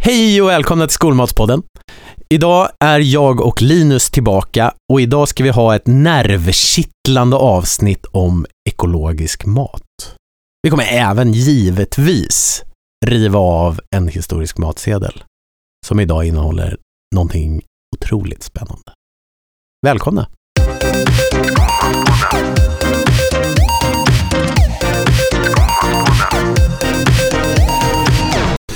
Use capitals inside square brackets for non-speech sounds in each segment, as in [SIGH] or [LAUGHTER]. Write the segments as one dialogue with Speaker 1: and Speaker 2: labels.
Speaker 1: Hej och välkomna till Skolmatspodden. Idag är jag och Linus tillbaka och idag ska vi ha ett nervkittlande avsnitt om ekologisk mat. Vi kommer även givetvis riva av en historisk matsedel som idag innehåller någonting otroligt spännande. Välkomna!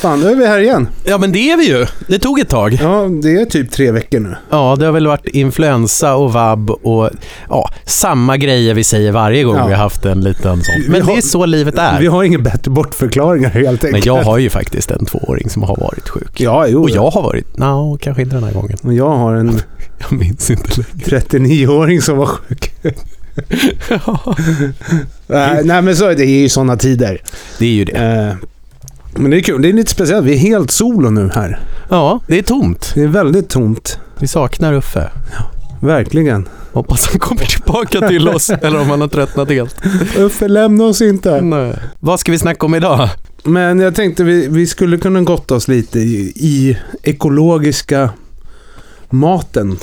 Speaker 2: Fan, nu är vi här igen.
Speaker 1: Ja men det är vi ju! Det tog ett tag.
Speaker 2: Ja, det är typ tre veckor nu.
Speaker 1: Ja, det har väl varit influensa och vabb och ja, samma grejer vi säger varje gång
Speaker 2: Ja.
Speaker 1: vi har haft en liten sån.
Speaker 2: Vi
Speaker 1: Men
Speaker 2: har-
Speaker 1: det är så livet är.
Speaker 2: Vi har inga bättre bortförklaringar helt
Speaker 1: Men
Speaker 2: enkelt.
Speaker 1: jag har ju faktiskt en tvååring som har varit sjuk.
Speaker 2: Ja, jo.
Speaker 1: Och jag har varit, nej, kanske inte den här gången.
Speaker 2: Och jag har en
Speaker 1: Jag minns inte
Speaker 2: [LAUGHS]
Speaker 1: längre.
Speaker 2: 39-åring som var sjuk. Nej, Eh, nej, men så är det det är ju sådana tider.
Speaker 1: Det är ju det.
Speaker 2: Eh, Men det är kul. Det är lite speciellt. Vi är helt solo nu här.
Speaker 1: Ja, det är tomt.
Speaker 2: Det är väldigt tomt.
Speaker 1: Vi saknar Uffe.
Speaker 2: Verkligen.
Speaker 1: Hoppas han kommer tillbaka till
Speaker 2: [LAUGHS]
Speaker 1: oss, eller om han har tröttnat helt.
Speaker 2: Uffe, lämna oss inte.
Speaker 1: Nej. Vad ska vi snacka om idag?
Speaker 2: Men jag tänkte vi, vi skulle kunna gotta oss lite i, i ekologiska maten.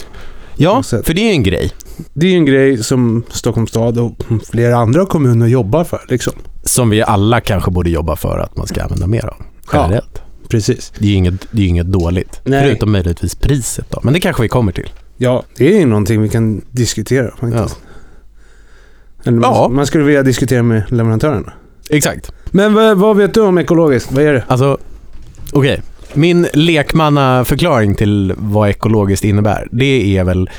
Speaker 1: Ja,
Speaker 2: Jag ser.
Speaker 1: för det är en grej
Speaker 2: Det är ju en grej som Stockholms stad och flera andra kommuner jobbar för. Liksom.
Speaker 1: som vi alla kanske borde jobba för att man ska använda mer av. Generellt.
Speaker 2: Precis.
Speaker 1: Det är ju inget, det är ju inget dåligt.
Speaker 2: Nej.
Speaker 1: Förutom möjligtvis priset då. Men det kanske vi kommer till.
Speaker 2: Ja, det är ju någonting vi kan diskutera. faktiskt. Eller man,
Speaker 1: Ja.
Speaker 2: man skulle vilja diskutera med leverantörerna.
Speaker 1: Exakt.
Speaker 2: Men vad, vad vet du om ekologiskt? Vad är det?
Speaker 1: Alltså, okej. Min lekmannaförklaring till vad ekologiskt innebär, det är väl...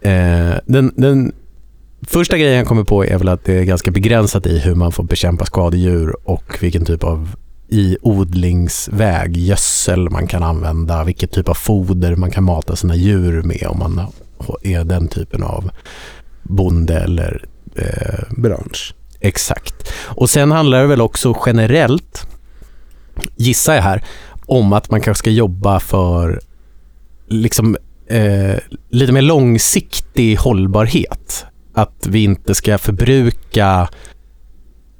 Speaker 1: Eh, den, den första grejen jag kommer på är väl att det är ganska begränsat i hur man får bekämpa skadedjur och vilken typ av i odlingsväg, gödsel man kan använda, vilket typ av foder man kan mata sina djur med om man är den typen av bonde eller eh,
Speaker 2: Bransch.
Speaker 1: Exakt. Och sen handlar det väl också generellt, gissar jag här, om att man kanske ska jobba för liksom, eh, lite mer långsiktig hållbarhet. Att vi inte ska förbruka,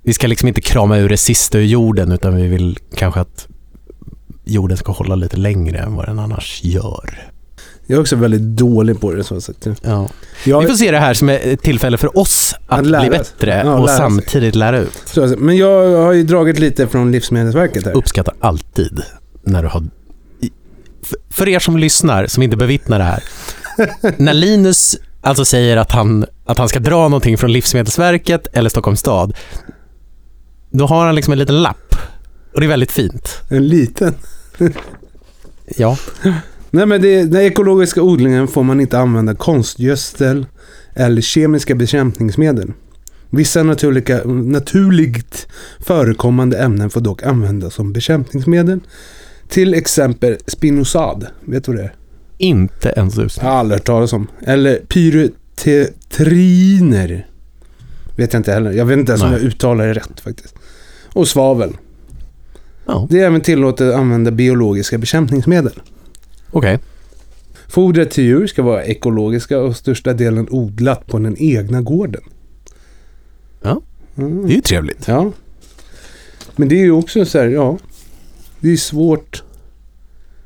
Speaker 1: vi ska liksom inte krama ur det sista ur jorden utan vi vill kanske att jorden ska hålla lite längre än vad den annars gör.
Speaker 2: Jag är också väldigt dålig på det. Så att
Speaker 1: Vi
Speaker 2: jag,
Speaker 1: får se det här som ett tillfälle för oss att,
Speaker 2: Att
Speaker 1: bli
Speaker 2: lära sig.
Speaker 1: bättre
Speaker 2: Ja,
Speaker 1: och
Speaker 2: lära sig.
Speaker 1: samtidigt lära ut.
Speaker 2: så att, men jag har ju dragit lite från Livsmedelsverket här.
Speaker 1: uppskattar alltid när du har... i- f- För er som lyssnar, som inte bevittnar det [LAUGHS] här. när Linus alltså säger att han, att han ska dra någonting från Livsmedelsverket eller Stockholms stad, då har han liksom en liten lapp. Och det är väldigt fint.
Speaker 2: En liten.
Speaker 1: Ja.
Speaker 2: Nej, men det, den ekologiska odlingen får man inte använda konstgödsel eller kemiska bekämpningsmedel. Vissa naturliga, naturligt förekommande ämnen får dock användas som bekämpningsmedel. Till exempel spinosad, vet du vad det är?
Speaker 1: Inte en sus.
Speaker 2: Jag har aldrig hört talas om. Eller pyretetriner. Vet jag inte heller. Jag vet inte ens om
Speaker 1: Nej.
Speaker 2: jag uttalar det rätt faktiskt. Och svavel.
Speaker 1: Ja,
Speaker 2: Det är även tillåtet att använda biologiska bekämpningsmedel.
Speaker 1: okej.
Speaker 2: Fodret till djur ska vara ekologiska och största delen odlat på den egna gården.
Speaker 1: Ja. Det
Speaker 2: Mm.
Speaker 1: är ju trevligt.
Speaker 2: Ja. Men det är ju också så här, ja. Det är svårt.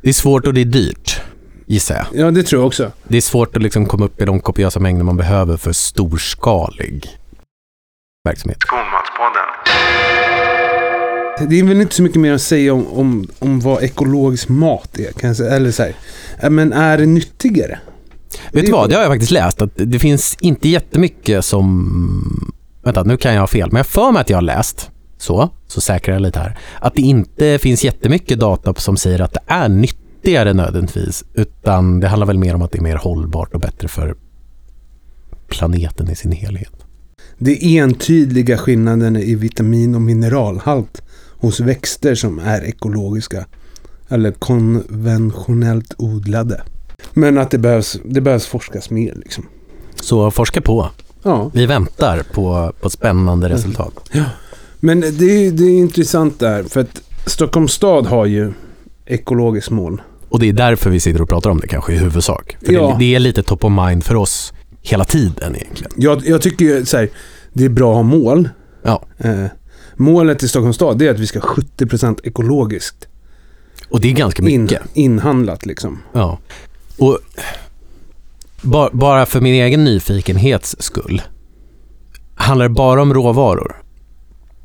Speaker 1: Det är svårt och det är dyrt, gissar jag.
Speaker 2: Ja, det tror jag också.
Speaker 1: Det är svårt att liksom komma upp i de kopiösa mängder man behöver för storskalig verksamhet.
Speaker 2: Det är väl inte så mycket mer att säga om, om, om vad ekologisk mat är. Kan jag säga. Eller så här, ja, men är det nyttigare?
Speaker 1: Vet
Speaker 2: Det
Speaker 1: du
Speaker 2: är
Speaker 1: vad,
Speaker 2: sjukt.
Speaker 1: det har jag faktiskt läst. Att det finns inte jättemycket som... Vänta, nu kan jag ha fel. Men jag har för mig att jag har läst, så, så säkrar jag lite här, att det inte finns jättemycket data som säger att det är nyttigare nödvändigtvis. Utan det handlar väl mer om att det är mer hållbart och bättre för planeten i sin helhet.
Speaker 2: Det är entydiga skillnaden i vitamin och mineralhalt hos växter som är ekologiska eller konventionellt odlade. Men att det behövs, det behövs forskas mer liksom.
Speaker 1: Så forska på.
Speaker 2: Ja.
Speaker 1: Vi väntar på, på spännande
Speaker 2: Mm.
Speaker 1: resultat.
Speaker 2: Men det är, det är intressant där, för att Stockholms stad har ju ekologiskt mål.
Speaker 1: Och det är därför vi sitter och pratar om det kanske i huvudsak. För det,
Speaker 2: Ja.
Speaker 1: det är lite top of mind för oss hela tiden egentligen.
Speaker 2: Jag, jag tycker ju så här, det är bra att ha mål.
Speaker 1: Ja.
Speaker 2: Eh, målet i Stockholms stad det är att vi ska ha 70% ekologiskt.
Speaker 1: Och det är ganska
Speaker 2: in,
Speaker 1: mycket.
Speaker 2: inhandlat liksom.
Speaker 1: Ja. Och ba, bara för min egen nyfikenhets skull. Handlar det bara om råvaror?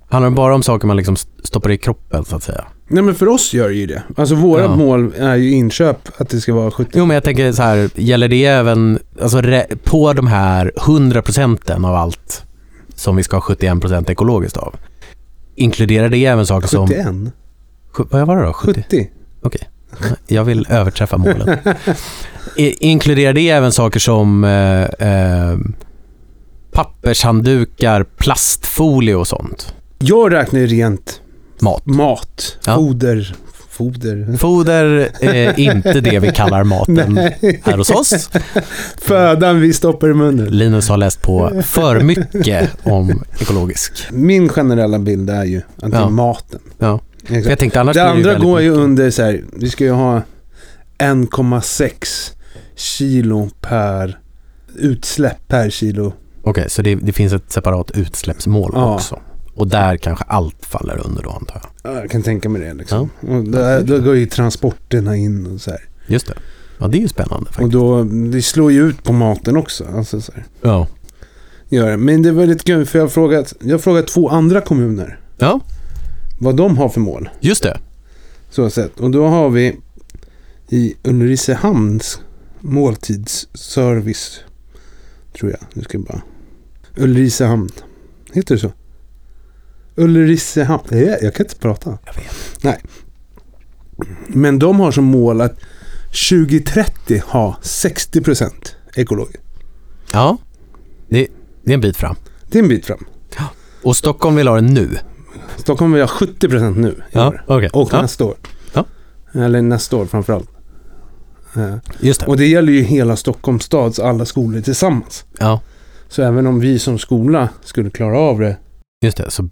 Speaker 1: Handlar det bara om saker man liksom stoppar i kroppen så att säga?
Speaker 2: Nej men för oss gör det ju det. Alltså våra
Speaker 1: Ja.
Speaker 2: mål är ju inköp, att det ska vara 70.
Speaker 1: Jo, men jag tänker så här, gäller det även alltså, re- på de här 100 procenten av allt som vi ska ha 71 procent ekologiskt av? Inkluderar det även saker som...
Speaker 2: 71?
Speaker 1: Sju- Vad var det då? 70?
Speaker 2: 70?
Speaker 1: Jag vill överträffa
Speaker 2: [LAUGHS]
Speaker 1: målen. I, inkluderar det även saker som eh, eh, pappershanddukar, plastfolie och sånt?
Speaker 2: Jag räknar ju rent
Speaker 1: Mat.
Speaker 2: mat,
Speaker 1: Ja.
Speaker 2: foder, foder.
Speaker 1: Foder är inte det vi kallar maten
Speaker 2: Nej,
Speaker 1: här hos oss.
Speaker 2: födan vi stoppar i munnen.
Speaker 1: Linus har läst på för mycket om ekologisk.
Speaker 2: Min generella bild är ju att det
Speaker 1: Ja.
Speaker 2: är maten.
Speaker 1: Ja. För
Speaker 2: Exakt.
Speaker 1: jag tänkte annars
Speaker 2: Det
Speaker 1: blir
Speaker 2: andra
Speaker 1: väldigt
Speaker 2: går ju
Speaker 1: mycket.
Speaker 2: under så här, vi ska ju ha 1,6 kilo per utsläpp per kilo.
Speaker 1: Okej, så det, det finns ett separat utsläppsmål
Speaker 2: Ja.
Speaker 1: också. Och där kanske allt faller under då antar jag.
Speaker 2: Ja, Jag kan tänka mig det liksom. Och där, då går ju transporterna in och så här.
Speaker 1: Just det. Ja, det är ju spännande
Speaker 2: Och
Speaker 1: faktiskt.
Speaker 2: då, det slår ju ut på maten också. Alltså så här.
Speaker 1: Ja.
Speaker 2: Gör det. Men det var lite kul för jag har frågat, jag har frågat två andra kommuner
Speaker 1: ja,
Speaker 2: vad de har för mål.
Speaker 1: just det.
Speaker 2: Så sett. Och då har vi i Ulricehamns måltidsservice. Tror jag. Nu ska jag bara... Ulricehamn. Heter det så? Ulricehamn. Nej, Jag kan inte prata.
Speaker 1: Jag vet.
Speaker 2: Nej. Men de har som mål att 2030 ha 60% ekologiskt.
Speaker 1: Ja, det, det är en bit fram.
Speaker 2: Det är en bit fram.
Speaker 1: Och Stockholm vill ha den nu.
Speaker 2: Stockholm vill ha 70% nu i år.
Speaker 1: okej.
Speaker 2: Och
Speaker 1: Ja,
Speaker 2: nästa år.
Speaker 1: Ja.
Speaker 2: Eller nästa år framförallt. Eh,
Speaker 1: just det.
Speaker 2: Och det gäller ju hela Stockholms stads alla skolor tillsammans.
Speaker 1: Ja,
Speaker 2: Så även om vi som skola skulle klara av det,
Speaker 1: just det. Så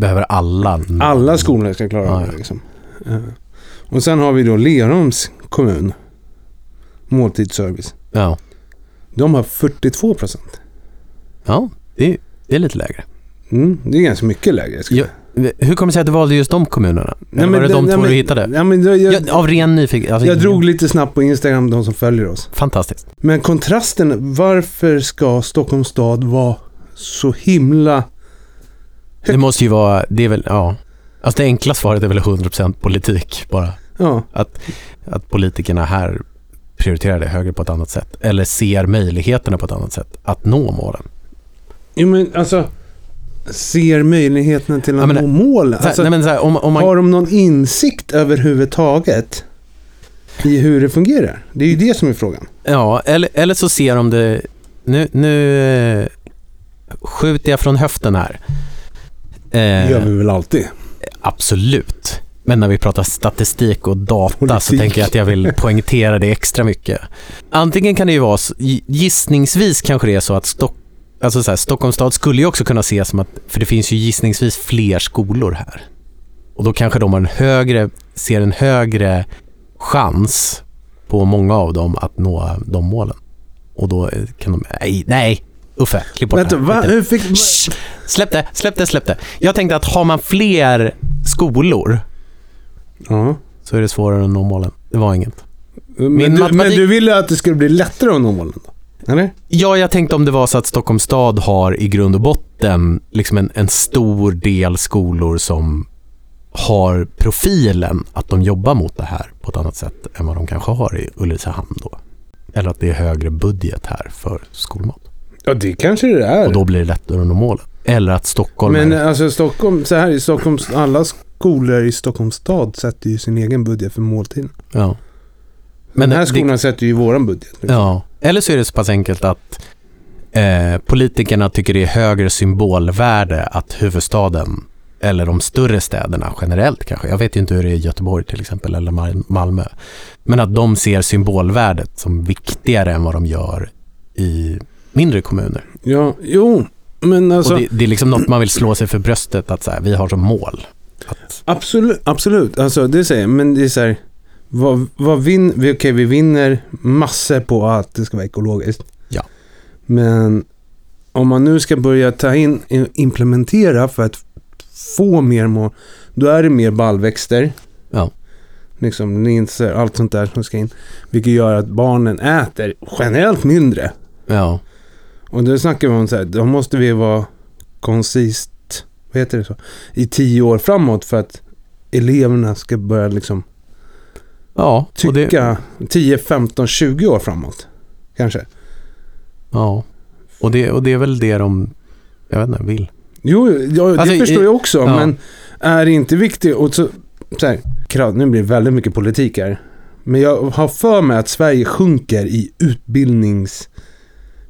Speaker 1: behöver alla...
Speaker 2: alla skolor ska klara av
Speaker 1: Ja,
Speaker 2: det.
Speaker 1: ja.
Speaker 2: Liksom. Eh, Och sen har vi då Lerums kommun, måltidsservice.
Speaker 1: Ja,
Speaker 2: De har 42 procent.
Speaker 1: ja det, det är lite lägre.
Speaker 2: Mm, det är ganska mycket lägre. skulle
Speaker 1: Ja, Hur kommer det sig att du valde just de kommunerna?
Speaker 2: Nej,
Speaker 1: Eller var det
Speaker 2: det-
Speaker 1: de
Speaker 2: nej,
Speaker 1: två
Speaker 2: men-
Speaker 1: du hittade?
Speaker 2: Ja, men jag, jag,
Speaker 1: Jag, av ren nyfikenhet. Alltså,
Speaker 2: jag drog lite snabbt på Instagram, de som följer oss.
Speaker 1: Fantastiskt.
Speaker 2: Men kontrasten, varför ska Stockholms stad vara så himla...
Speaker 1: Det måste ju vara... Det är väl... Ja. Alltså det enkla svaret är väl 100% politik bara.
Speaker 2: Ja,
Speaker 1: att politikerna här prioriterar det högre på ett annat sätt. Eller ser möjligheterna på ett annat sätt att nå målen.
Speaker 2: jo, men alltså... Ser möjligheterna till
Speaker 1: Ja,
Speaker 2: att
Speaker 1: men-
Speaker 2: nå målen.
Speaker 1: Så här,
Speaker 2: Alltså,
Speaker 1: nej men så här, om, om man,
Speaker 2: Har de någon insikt överhuvudtaget i hur det fungerar? Det är ju det som är frågan.
Speaker 1: ja, eller, eller så ser de det... Nu, nu eh, skjuter jag från höften här. Eh,
Speaker 2: väl alltid.
Speaker 1: Absolut. Men när vi pratar statistik och data så
Speaker 2: Politik.
Speaker 1: tänker jag att jag vill poängtera det extra mycket. Antingen kan det ju vara, s- gissningsvis kanske det är så att Stock, alltså så här, Stockholms stad skulle ju också kunna ses som att, för det finns ju gissningsvis fler skolor här. Och då kanske de har en högre, ser en högre chans på många av dem att nå de målen. Och då eh, kan de, nej, nej Uffe, klipp bort
Speaker 2: Vänta,
Speaker 1: det här.
Speaker 2: va? Hur fick... va-
Speaker 1: Shh! Släpp det, släpp det, släpp det. Jag tänkte att har man fler skolor
Speaker 2: Ja.
Speaker 1: så är det svårare att nå målen. Det var inget.
Speaker 2: Men,
Speaker 1: Min
Speaker 2: du, men
Speaker 1: matematik-
Speaker 2: du ville att det skulle bli lättare att nå målen då? Eller?
Speaker 1: Ja, jag tänkte om det var så att Stockholms stad har i grund och botten liksom en, en stor del skolor som har profilen att de jobbar mot det här på ett annat sätt än vad de kanske har i Ulricehamn då. Eller att det är högre budget här för skolmat.
Speaker 2: Ja, det kanske det är.
Speaker 1: Och då blir det lättare att nå målen. Eller att Stockholm
Speaker 2: men
Speaker 1: är...
Speaker 2: alltså Stockholm, så här i Stockholm, alla skolor i Stockholms stad sätter ju sin egen budget för måltiden.
Speaker 1: Ja. eh,
Speaker 2: Men den här
Speaker 1: det-
Speaker 2: skolan sätter ju våran budget. liksom.
Speaker 1: Ja, eller så är det så pass enkelt att eh, politikerna tycker det är högre symbolvärde att huvudstaden eller de större städerna generellt kanske. Jag vet ju inte hur det är i Göteborg till exempel eller Mal- Malmö. Men att de ser symbolvärdet som viktigare än vad de gör i mindre kommuner.
Speaker 2: ja jo, men alltså...
Speaker 1: Och det, det är liksom något man vill slå sig för bröstet att så här, vi har som mål. Att,
Speaker 2: Absolut, absolut. Alltså, det säger jag. Men det är så här. Vad, vad vin, vi, okej, vi vinner massor på att det ska vara ekologiskt.
Speaker 1: Ja.
Speaker 2: Men om man nu ska börja ta in, implementera för att få mer mål, då är det mer ballväxter.
Speaker 1: Ja.
Speaker 2: liksom linser, allt sånt där som ska in. Vilket gör att barnen äter generellt mindre.
Speaker 1: Ja.
Speaker 2: Och då snackar vi om så här, då måste vi vara koncist, vad heter det så? I tio år framåt för att eleverna ska börja liksom
Speaker 1: Ja. och det-
Speaker 2: tycka 10, 15, 20 år framåt. Kanske.
Speaker 1: Ja. Och det, och det är väl det de, jag vet inte, vill.
Speaker 2: Jo, ja, det
Speaker 1: Alltså, i-
Speaker 2: förstår jag också.
Speaker 1: ja.
Speaker 2: Men är det inte viktigt och så, så här, krav, nu blir det väldigt mycket politik här. Men jag har för mig att Sverige sjunker i utbildnings...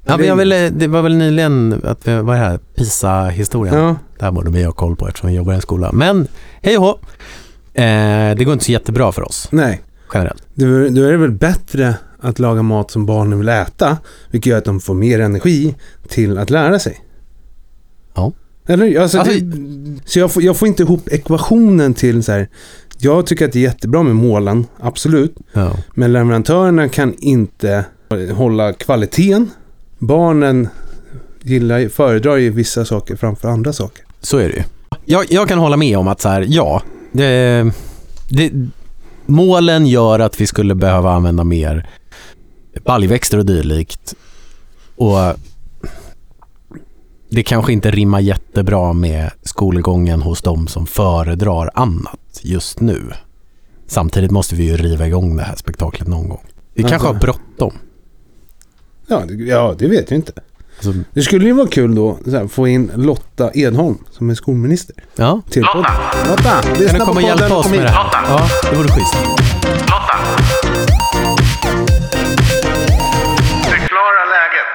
Speaker 1: Ja, men jag ville, det var väl nyligen, att, vi- vad är det här, PISA-historien?
Speaker 2: Ja,
Speaker 1: Det här borde vi ha koll på eftersom vi jobbar i en skola. Men hej och hå. eh, Det går inte så jättebra för oss,
Speaker 2: nej.
Speaker 1: generellt.
Speaker 2: Då då är det väl bättre att laga mat som barnen vill äta, vilket gör att de får mer energi till att lära sig.
Speaker 1: Ja.
Speaker 2: Eller alltså,
Speaker 1: Alltså-
Speaker 2: det, Så jag får, jag får inte ihop ekvationen till så här. Jag tycker att det är jättebra med målen, absolut.
Speaker 1: Ja.
Speaker 2: Men leverantörerna kan inte hålla kvaliteten. Barnen gillar, ju- föredrar ju vissa saker framför andra saker.
Speaker 1: Så är det ju. Jag, jag kan hålla med om att så här, ja, det, det, målen gör att vi skulle behöva använda mer baljväxter och dylikt. Och det kanske inte rimmar jättebra med skolgången hos de som föredrar annat just nu. Samtidigt måste vi ju riva igång det här spektaklet någon gång. Vi
Speaker 2: Ja,
Speaker 1: kanske
Speaker 2: det-
Speaker 1: har bråttom.
Speaker 2: Ja, det, ja, det vet jag inte.
Speaker 1: Alltså,
Speaker 2: Det skulle ju vara kul då så här, få in Lotta Edholm som är skolminister
Speaker 1: ja.
Speaker 2: till podden. Lotta,
Speaker 1: Kan
Speaker 2: lyssna
Speaker 1: du
Speaker 2: på
Speaker 1: komma och
Speaker 2: podden.
Speaker 1: hjälpa
Speaker 2: och
Speaker 1: oss
Speaker 2: kom
Speaker 1: med
Speaker 2: hit.
Speaker 1: det här? Ja, det vore schysst.
Speaker 3: Lotta! Förklara läget.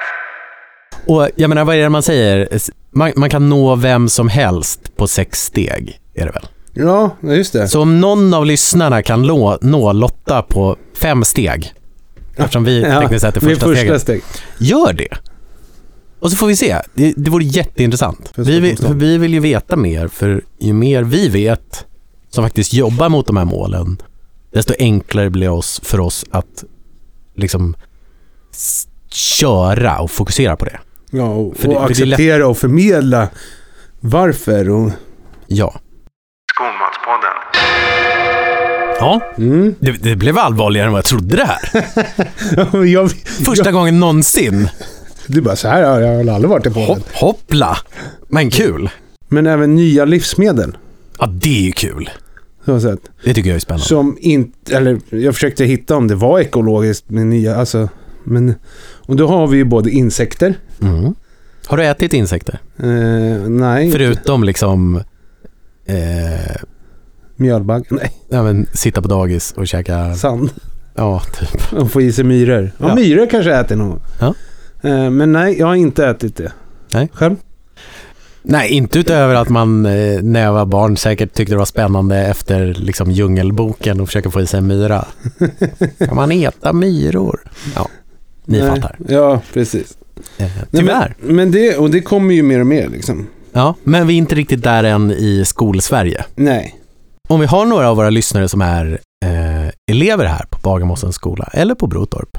Speaker 1: Och jag menar, vad är det man säger? Man, man kan nå vem som helst på sex steg, är det väl?
Speaker 2: Ja, ja, just det.
Speaker 1: Så om någon av lyssnarna kan nå, nå Lotta på fem steg, eftersom vi
Speaker 2: Ja,
Speaker 1: tekniskt sett är
Speaker 2: det är
Speaker 1: första, steget, gör det. Och så får vi se. Det, det vore jätteintressant.
Speaker 2: Förstå-
Speaker 1: Vi vill,
Speaker 2: förstå.
Speaker 1: för vi vill ju veta mer, för ju mer vi vet som faktiskt jobbar mot de här målen, desto enklare blir det oss, för oss att liksom s- köra och fokusera på det.
Speaker 2: Ja, och,
Speaker 1: För det-
Speaker 2: och
Speaker 1: för det är lätt-
Speaker 2: acceptera och förmedla varför. Och,
Speaker 1: Ja.
Speaker 3: Skolmatspodden.
Speaker 1: Ja,
Speaker 2: mm. [LAUGHS]
Speaker 1: Det, det blev allvarligare än vad jag trodde det [LAUGHS] här.
Speaker 2: jag, jag,
Speaker 1: Första gången någonsin.
Speaker 2: du bara, så här har jag aldrig varit i podden.
Speaker 1: Hopp, hoppla! Men kul.
Speaker 2: Men även nya livsmedel.
Speaker 1: Ja, det är ju kul.
Speaker 2: Så sett.
Speaker 1: Det tycker jag är spännande.
Speaker 2: Som inte, eller jag försökte hitta om det var ekologiskt med nya, alltså, men, och då har vi ju både insekter,
Speaker 1: Mm. Har du ätit insekter?
Speaker 2: eh, nej,
Speaker 1: Förutom liksom... Eh,
Speaker 2: mjölbagg, nej,
Speaker 1: ja, men, sitta på dagis och käka...
Speaker 2: sand
Speaker 1: Ja, typ.
Speaker 2: och få i sig myror. Ja,
Speaker 1: Ja.
Speaker 2: myror kanske jag äter nog.
Speaker 1: Ja.
Speaker 2: Eh, men nej, jag har inte ätit det.
Speaker 1: Nej.
Speaker 2: Själv?
Speaker 1: Nej, inte utöver att man eh, när jag var barn säkert tyckte det var spännande efter liksom, Djungelboken och försöka få i sig en
Speaker 2: [LAUGHS]
Speaker 1: myra. Kan man äta myror? Ja, ni
Speaker 2: nej.
Speaker 1: fattar.
Speaker 2: Ja, precis.
Speaker 1: Eh,
Speaker 2: Nej,
Speaker 1: tyvärr.
Speaker 2: Men, men det, och det kommer ju mer och mer liksom.
Speaker 1: Ja, men vi är inte riktigt där än i skolsverige.
Speaker 2: Nej.
Speaker 1: Om vi har några av våra lyssnare som är eh, elever här på Bagarmossens skola eller på Brotorp.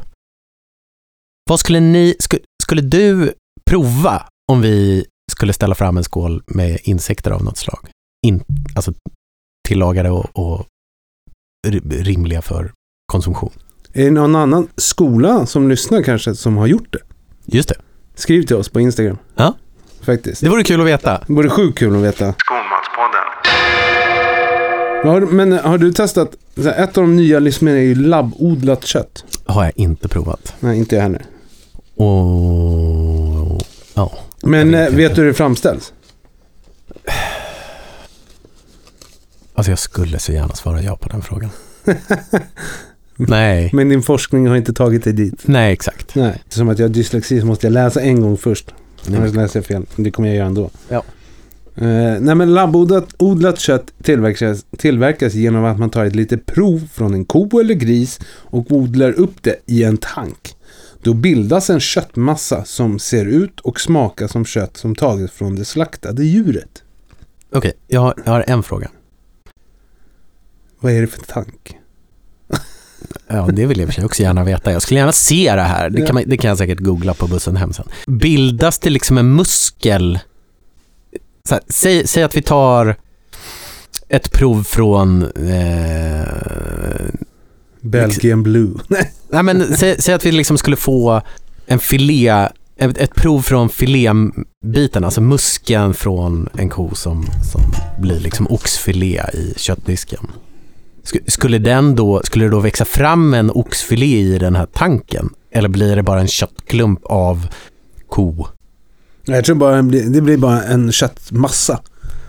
Speaker 1: Vad skulle ni, sku, skulle du prova om vi skulle ställa fram en skål med insekter av något slag? In, alltså tillagade och, och ri- rimliga för konsumtion.
Speaker 2: Är det någon annan skola som lyssnar kanske som har gjort det?
Speaker 1: Just det.
Speaker 2: Skriv till oss på Instagram.
Speaker 1: Ja.
Speaker 2: Faktiskt.
Speaker 1: Det vore kul att veta.
Speaker 2: Det vore sjukt kul att veta.
Speaker 3: Skolmatspodden.
Speaker 2: Har, men har du testat, så här, ett av de nya livsmedlen är ju labbodlat kött.
Speaker 1: Har jag inte provat.
Speaker 2: Nej, inte jag heller.
Speaker 1: Och, ja.
Speaker 2: Men
Speaker 1: Jag
Speaker 2: vet,
Speaker 1: vet
Speaker 2: vet
Speaker 1: inte.
Speaker 2: du hur det framställs?
Speaker 1: Alltså jag skulle så gärna svara ja på den frågan. Nej,
Speaker 2: Men din forskning har inte tagit dig dit.
Speaker 1: nej exakt.
Speaker 2: Nej, som att jag har dyslexi så måste jag läsa en gång först. Annars läser jag fel. Det kommer jag göra ändå.
Speaker 1: Ja.
Speaker 2: Eh, nej men labbodlat odlat kött tillverkas, tillverkas genom att man tar ett litet prov från en ko eller gris och odlar upp det i en tank. Då bildas en köttmassa som ser ut och smakar som kött som tagits från det slaktade djuret.
Speaker 1: Okej, jag, har, jag har en fråga.
Speaker 2: Vad är det för tank?
Speaker 1: Ja, det vill jag i och för sig också gärna veta. Jag skulle gärna se det här. Det kan, man, det kan jag säkert googla på bussen hem sen. Bildas det liksom en muskel? Så här, säg, säg att vi tar ett prov från... Eh,
Speaker 2: Belgian Blue. [LAUGHS] Nej.
Speaker 1: nej men säg, säg att vi liksom skulle få en filé, ett, ett prov från filébiten, alltså muskeln från en ko som, som blir liksom oxfilé i köttdisken. Sk- Skulle, den då, skulle det då växa fram en oxfilé i den här tanken? Eller blir det bara en köttklump av ko?
Speaker 2: Jag tror bara det blir- det blir bara en köttmassa.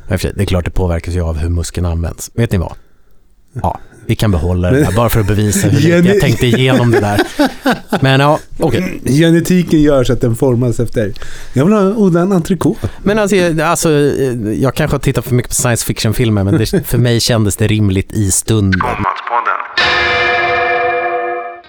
Speaker 1: Ja, i och för sig, Det är klart det påverkas ju av hur muskeln används. Vet ni vad? Ja, vi kan behålla det där bara för att bevisa hur lite
Speaker 2: Jenny-
Speaker 1: jag tänkte igenom det där. Men ja, okej.
Speaker 2: Genetiken gör så att den formas efter. Jag vill ha odla en entrecote.
Speaker 1: Men alltså, jag- alltså, eh, jag kanske har tittat för mycket på science fiction-filmer, men det,
Speaker 2: [LAUGHS]
Speaker 1: för mig kändes det rimligt i stunden.
Speaker 3: Skolmatspodden.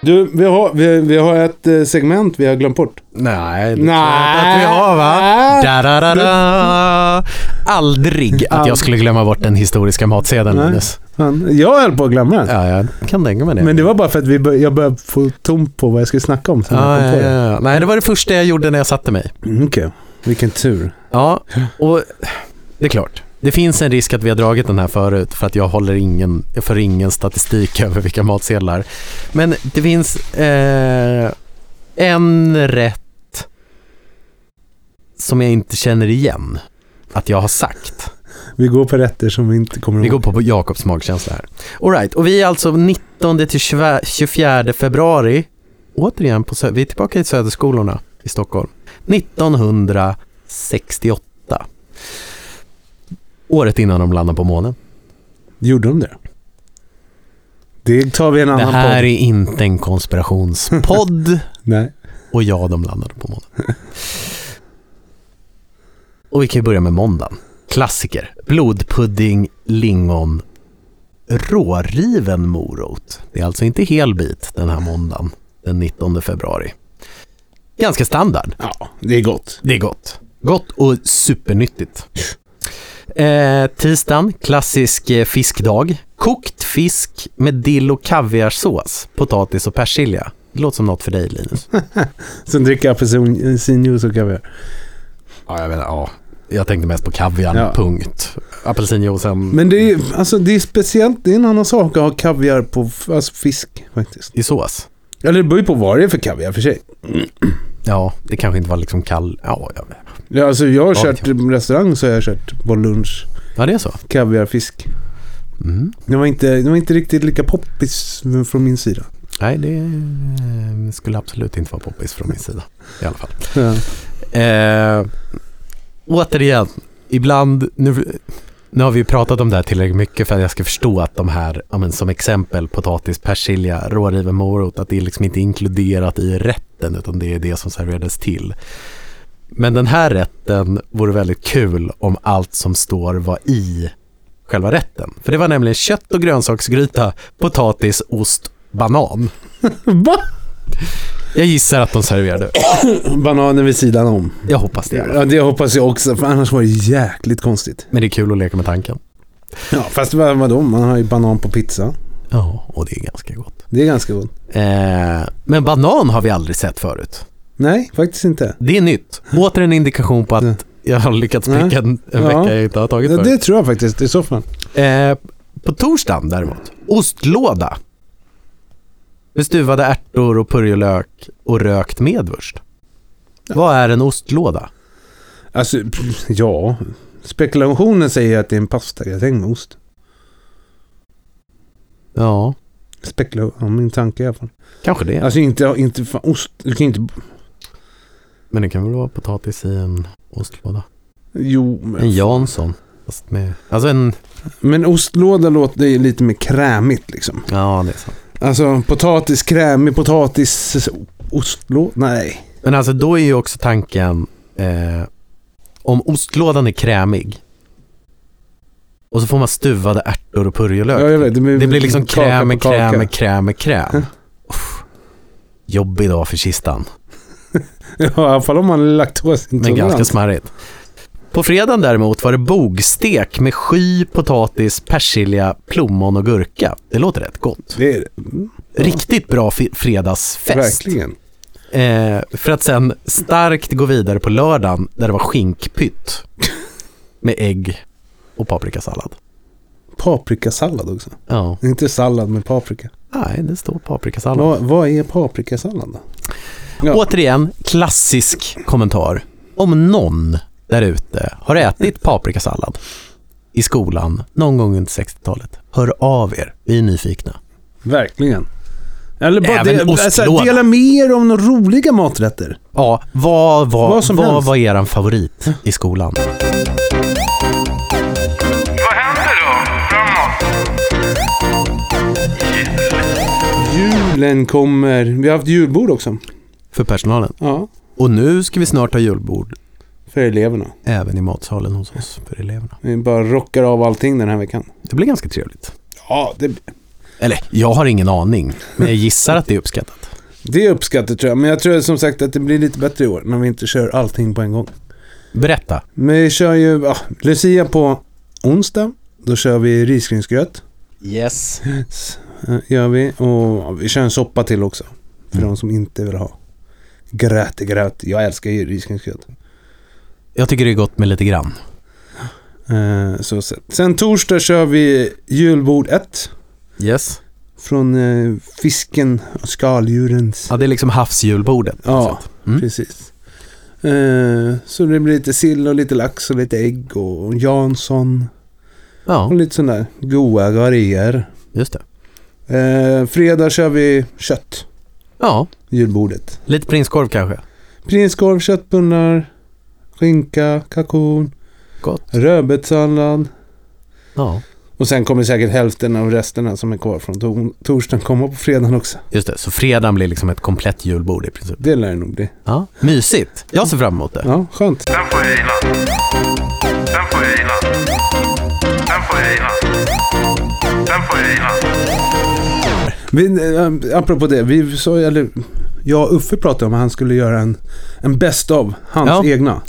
Speaker 2: Du, vi har, vi, vi har ett eh, segment vi har glömt bort.
Speaker 1: Nej, det
Speaker 2: tror jag inte att vi har, va?
Speaker 1: Da, da, da,
Speaker 2: [LAUGHS]
Speaker 1: da. Aldrig att jag skulle glömma bort den historiska matsedeln,
Speaker 2: Nej.
Speaker 1: Linus.
Speaker 2: Han, jag höll på att glömma den.
Speaker 1: Ja, jag kan tänka mig det.
Speaker 2: Men det var bara för att vi bör, jag började få tomt på vad jag skulle snacka om. Sen jag
Speaker 1: ja,
Speaker 2: kom
Speaker 1: ja,
Speaker 2: på det.
Speaker 1: ja. ja. Nej, det var det första jag gjorde när jag satte mig.
Speaker 2: Mm, Okej, vilken tur.
Speaker 1: Ja, och det är klart. Det finns en risk att vi har dragit den här förut för att jag håller ingen, jag för ingen statistik [LAUGHS] över vilka matsedlar. Men det finns eh, en rätt som jag inte känner igen att jag har sagt.
Speaker 2: Vi går på rätter som vi inte kommer
Speaker 1: Vi går
Speaker 2: ihåg.
Speaker 1: på Jakobs magkänsla här. All right, och vi är alltså 19 till 20 24 februari. Återigen, på Sö- vi är tillbaka i Söderskolorna i Stockholm. 1968. Året innan de landade på månen.
Speaker 2: Gjorde de det? Det tar vi en
Speaker 1: Det
Speaker 2: annan
Speaker 1: här
Speaker 2: podd.
Speaker 1: är inte en
Speaker 2: [LAUGHS]
Speaker 1: konspirationspodd.
Speaker 2: Nej.
Speaker 1: och ja, de landade på månen. Och vi kan ju börja med måndagen. Klassiker. Blodpudding, lingon, råriven morot. Det är alltså inte hel bit den här måndagen, den 19 februari. Ganska standard.
Speaker 2: Ja, det är gott.
Speaker 1: Det är gott. Gott och supernyttigt. Eh, tisdagen, klassisk eh, fiskdag. Kokt fisk med dill och kaviarsås, potatis och persilja. Det låter som något för dig, Linus.
Speaker 2: Sen dricker jag apelsinjuice och kaviar.
Speaker 1: Ja, jag menar, ja. Jag tänkte mest på kaviarn,
Speaker 2: Ja.
Speaker 1: punkt. Apelsinjuicen.
Speaker 2: Men det är ju, alltså det är speciellt, det är en annan sak att ha kaviar på f- alltså fisk faktiskt.
Speaker 1: i sås.
Speaker 2: Eller det beror ju på vad det är för kaviar för sig.
Speaker 1: Ja, det kanske inte var liksom kall... Ja, jag vet.
Speaker 2: Ja, Alltså jag har
Speaker 1: Ja,
Speaker 2: kört restaurang så har jag kört på lunch
Speaker 1: ja det är så.
Speaker 2: kaviar, fisk.
Speaker 1: Mm.
Speaker 2: Det var inte, det var inte riktigt lika poppis från min sida.
Speaker 1: Nej, det eh, skulle absolut inte vara poppis från min sida. I alla fall.
Speaker 2: Ja.
Speaker 1: Eh, återigen, ibland, nu, nu har vi ju pratat om det här tillräckligt mycket för att jag ska förstå att de här, ja, men som exempel potatis, persilja, råriven morot, att det är liksom inte inkluderat i rätten utan det är det som serverades till. Men den här rätten vore väldigt kul om allt som står var i själva rätten. För det var nämligen kött och grönsaksgryta, potatis, ost, banan.
Speaker 2: Va?
Speaker 1: Jag gissar att de serverade.
Speaker 2: Bananen vid sidan om.
Speaker 1: Jag hoppas det. i alla fall.
Speaker 2: Ja, det hoppas jag också, för annars var det jäkligt konstigt.
Speaker 1: Men det är kul att leka med tanken.
Speaker 2: Ja, fast vad- vadå? Man har ju banan på pizza.
Speaker 1: Ja, och det är ganska gott.
Speaker 2: Det är ganska gott.
Speaker 1: Eh, men banan har vi aldrig sett förut.
Speaker 2: Nej, faktiskt inte.
Speaker 1: Det är nytt. Åter en indikation på att jag har lyckats pricka en, en
Speaker 2: Mm. Ja.
Speaker 1: vecka jag inte har tagit
Speaker 2: Ja,
Speaker 1: förut.
Speaker 2: det tror jag faktiskt i så fall.
Speaker 1: Eh, på torsdagen däremot, ostlåda. Med stuvade ärtor och purjolök och rökt medvurst. Vad är en ostlåda?
Speaker 2: Alltså, pff, ja. Spekulationen säger att det är en pastagratäng med ost.
Speaker 1: Ja,
Speaker 2: Spekula, ja, min tanke i alla fall.
Speaker 1: kanske det.
Speaker 2: Alltså inte, inte fan, ost. Du kan inte...
Speaker 1: Men det kan väl vara potatis i en ostlåda.
Speaker 2: Jo, men,
Speaker 1: En Jansson. Fast med, alltså en...
Speaker 2: men ostlåda låter det ju lite mer krämigt liksom.
Speaker 1: Ja, det är sant.
Speaker 2: Alltså potatis, krämig potatis, ostlåda. Nej. [LAUGHS]
Speaker 1: Men alltså då är ju också tanken eh, om ostlådan är krämig och så får man stuvade ärtor och purjolök.
Speaker 2: Ja, jag vet, det, blir,
Speaker 1: det blir liksom
Speaker 2: kaka
Speaker 1: kräm med
Speaker 2: på kaka.
Speaker 1: kräm med kräm med kräm. Uff. Jobbig dag för kistan,
Speaker 2: Ja, i alla fall om man är
Speaker 1: men ganska
Speaker 2: laktosintolerant.
Speaker 1: smarrigt. På fredagen däremot var det bogstek med sky, potatis, persilja, plommon och gurka. Det låter rätt gott.
Speaker 2: Det är det. Mm,
Speaker 1: Riktigt bra fi- fredagsfest.
Speaker 2: Verkligen.
Speaker 1: Eh, för att sen starkt gå vidare på lördagen där det var skinkpytt med ägg och paprikasallad.
Speaker 2: paprikasallad också.
Speaker 1: Ja.
Speaker 2: Inte sallad med paprika.
Speaker 1: Nej, det står paprikasallad.
Speaker 2: Vad, vad är paprikasallad då? Ja.
Speaker 1: Återigen, klassisk kommentar. Om någon där ute har ätit paprikasallad i skolan någon gång under 60-talet, hör av er. Vi är nyfikna.
Speaker 2: Verkligen. Eller bara
Speaker 1: Även
Speaker 2: del, alltså,
Speaker 1: ostlåda.
Speaker 2: dela med er om några roliga maträtter.
Speaker 1: Ja, vad var,
Speaker 2: Vad som
Speaker 1: vad,
Speaker 2: helst.
Speaker 1: var er favorit i skolan?
Speaker 3: Vad händer då? Framåt?
Speaker 2: Julen kommer. Vi har haft julbord också.
Speaker 1: För personalen.
Speaker 2: Ja.
Speaker 1: Och nu ska vi snart ha julbord
Speaker 2: För eleverna.
Speaker 1: även i matsalen hos oss för eleverna.
Speaker 2: Vi bara rockar av allting den här veckan.
Speaker 1: Det blir ganska trevligt.
Speaker 2: Ja, det,
Speaker 1: Eller, jag har ingen aning, men jag gissar att det är uppskattat.
Speaker 2: det är uppskattat tror jag. Men jag tror som sagt att det blir lite bättre i år när vi inte kör allting på en gång.
Speaker 1: Berätta.
Speaker 2: Men vi kör ju ja, Lucia på onsdag. Då kör vi risgrynsgröt.
Speaker 1: Yes.
Speaker 2: Eh, Gör vi. Och ja, vi kör en soppa till också. För de som inte vill ha. Gröt är gröt. Jag älskar ju risgrynsgröt.
Speaker 1: Jag tycker det är gott med lite grann.
Speaker 2: Eh, så sett. Sen torsdag kör vi julbord 1.
Speaker 1: Yes.
Speaker 2: Från eh, fisken och skaldjurens.
Speaker 1: Ja, det är liksom havsjulbordet. på
Speaker 2: Ja,
Speaker 1: något sätt. Mm.
Speaker 2: precis. Eh, så det blir lite sill och lite lax och lite ägg och Jansson.
Speaker 1: ja
Speaker 2: Och lite sådana där goa grejer.
Speaker 1: just det.
Speaker 2: Eh, fredag kör vi kött.
Speaker 1: Ja,
Speaker 2: Julbordet.
Speaker 1: lite prinskorv kanske.
Speaker 2: Prinskorv, köttbullar, skinka, kalkon,
Speaker 1: Gott.
Speaker 2: rödbetssallad.
Speaker 1: Ja,
Speaker 2: Och sen kommer säkert hälften av resterna som är kvar från to- torsdagen komma på fredagen också.
Speaker 1: just det. Så fredagen blir liksom ett komplett julbord i princip.
Speaker 2: Det lär det nog bli.
Speaker 1: Ja, mysigt. Jag ser fram emot det.
Speaker 2: Ja, skönt.
Speaker 3: Den får jag gilla. Den får jag gilla. Den får jag gilla. Den får jag gilla.
Speaker 2: Vi, eh, apropå det, vi sa ju- eller jag och Uffe pratade om att han skulle göra en, en best of, hans
Speaker 1: Ja.
Speaker 2: egna.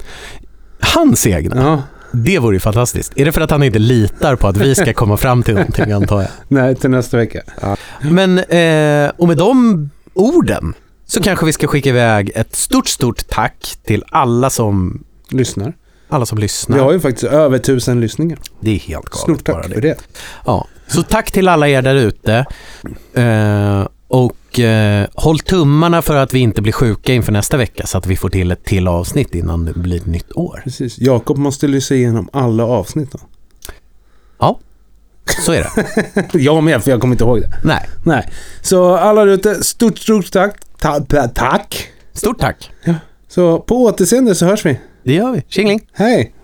Speaker 1: Hans egna.
Speaker 2: Ja,
Speaker 1: Det vore ju fantastiskt. Är det för att han inte litar på att vi ska komma fram till någonting, antar jag?
Speaker 2: nej, till nästa vecka.
Speaker 1: Men, eh, och med de orden så kanske vi ska skicka iväg ett stort, stort tack till alla som,
Speaker 2: Lyssnar.
Speaker 1: alla som lyssnar.
Speaker 2: Vi har ju faktiskt över tusen lyssningar.
Speaker 1: Det är helt galet
Speaker 2: Stort
Speaker 1: bara
Speaker 2: tack
Speaker 1: det.
Speaker 2: för det.
Speaker 1: Ja. Så tack till alla er där ute. Eh, och eh, håll tummarna för att vi inte blir sjuka inför nästa vecka så att vi får till ett till avsnitt innan det blir ett nytt år.
Speaker 2: Precis. Jakob måste lyssna igenom alla avsnitt då.
Speaker 1: Så är det.
Speaker 2: [LAUGHS] Jag med, för jag kommer inte ihåg det.
Speaker 1: Nej,
Speaker 2: Nej. Så alla där ute, stort, stort tack. Ta- ta- tack.
Speaker 1: stort tack.
Speaker 2: Så på återseende så hörs vi.
Speaker 1: Det gör vi. Tjingeling!
Speaker 2: Hej!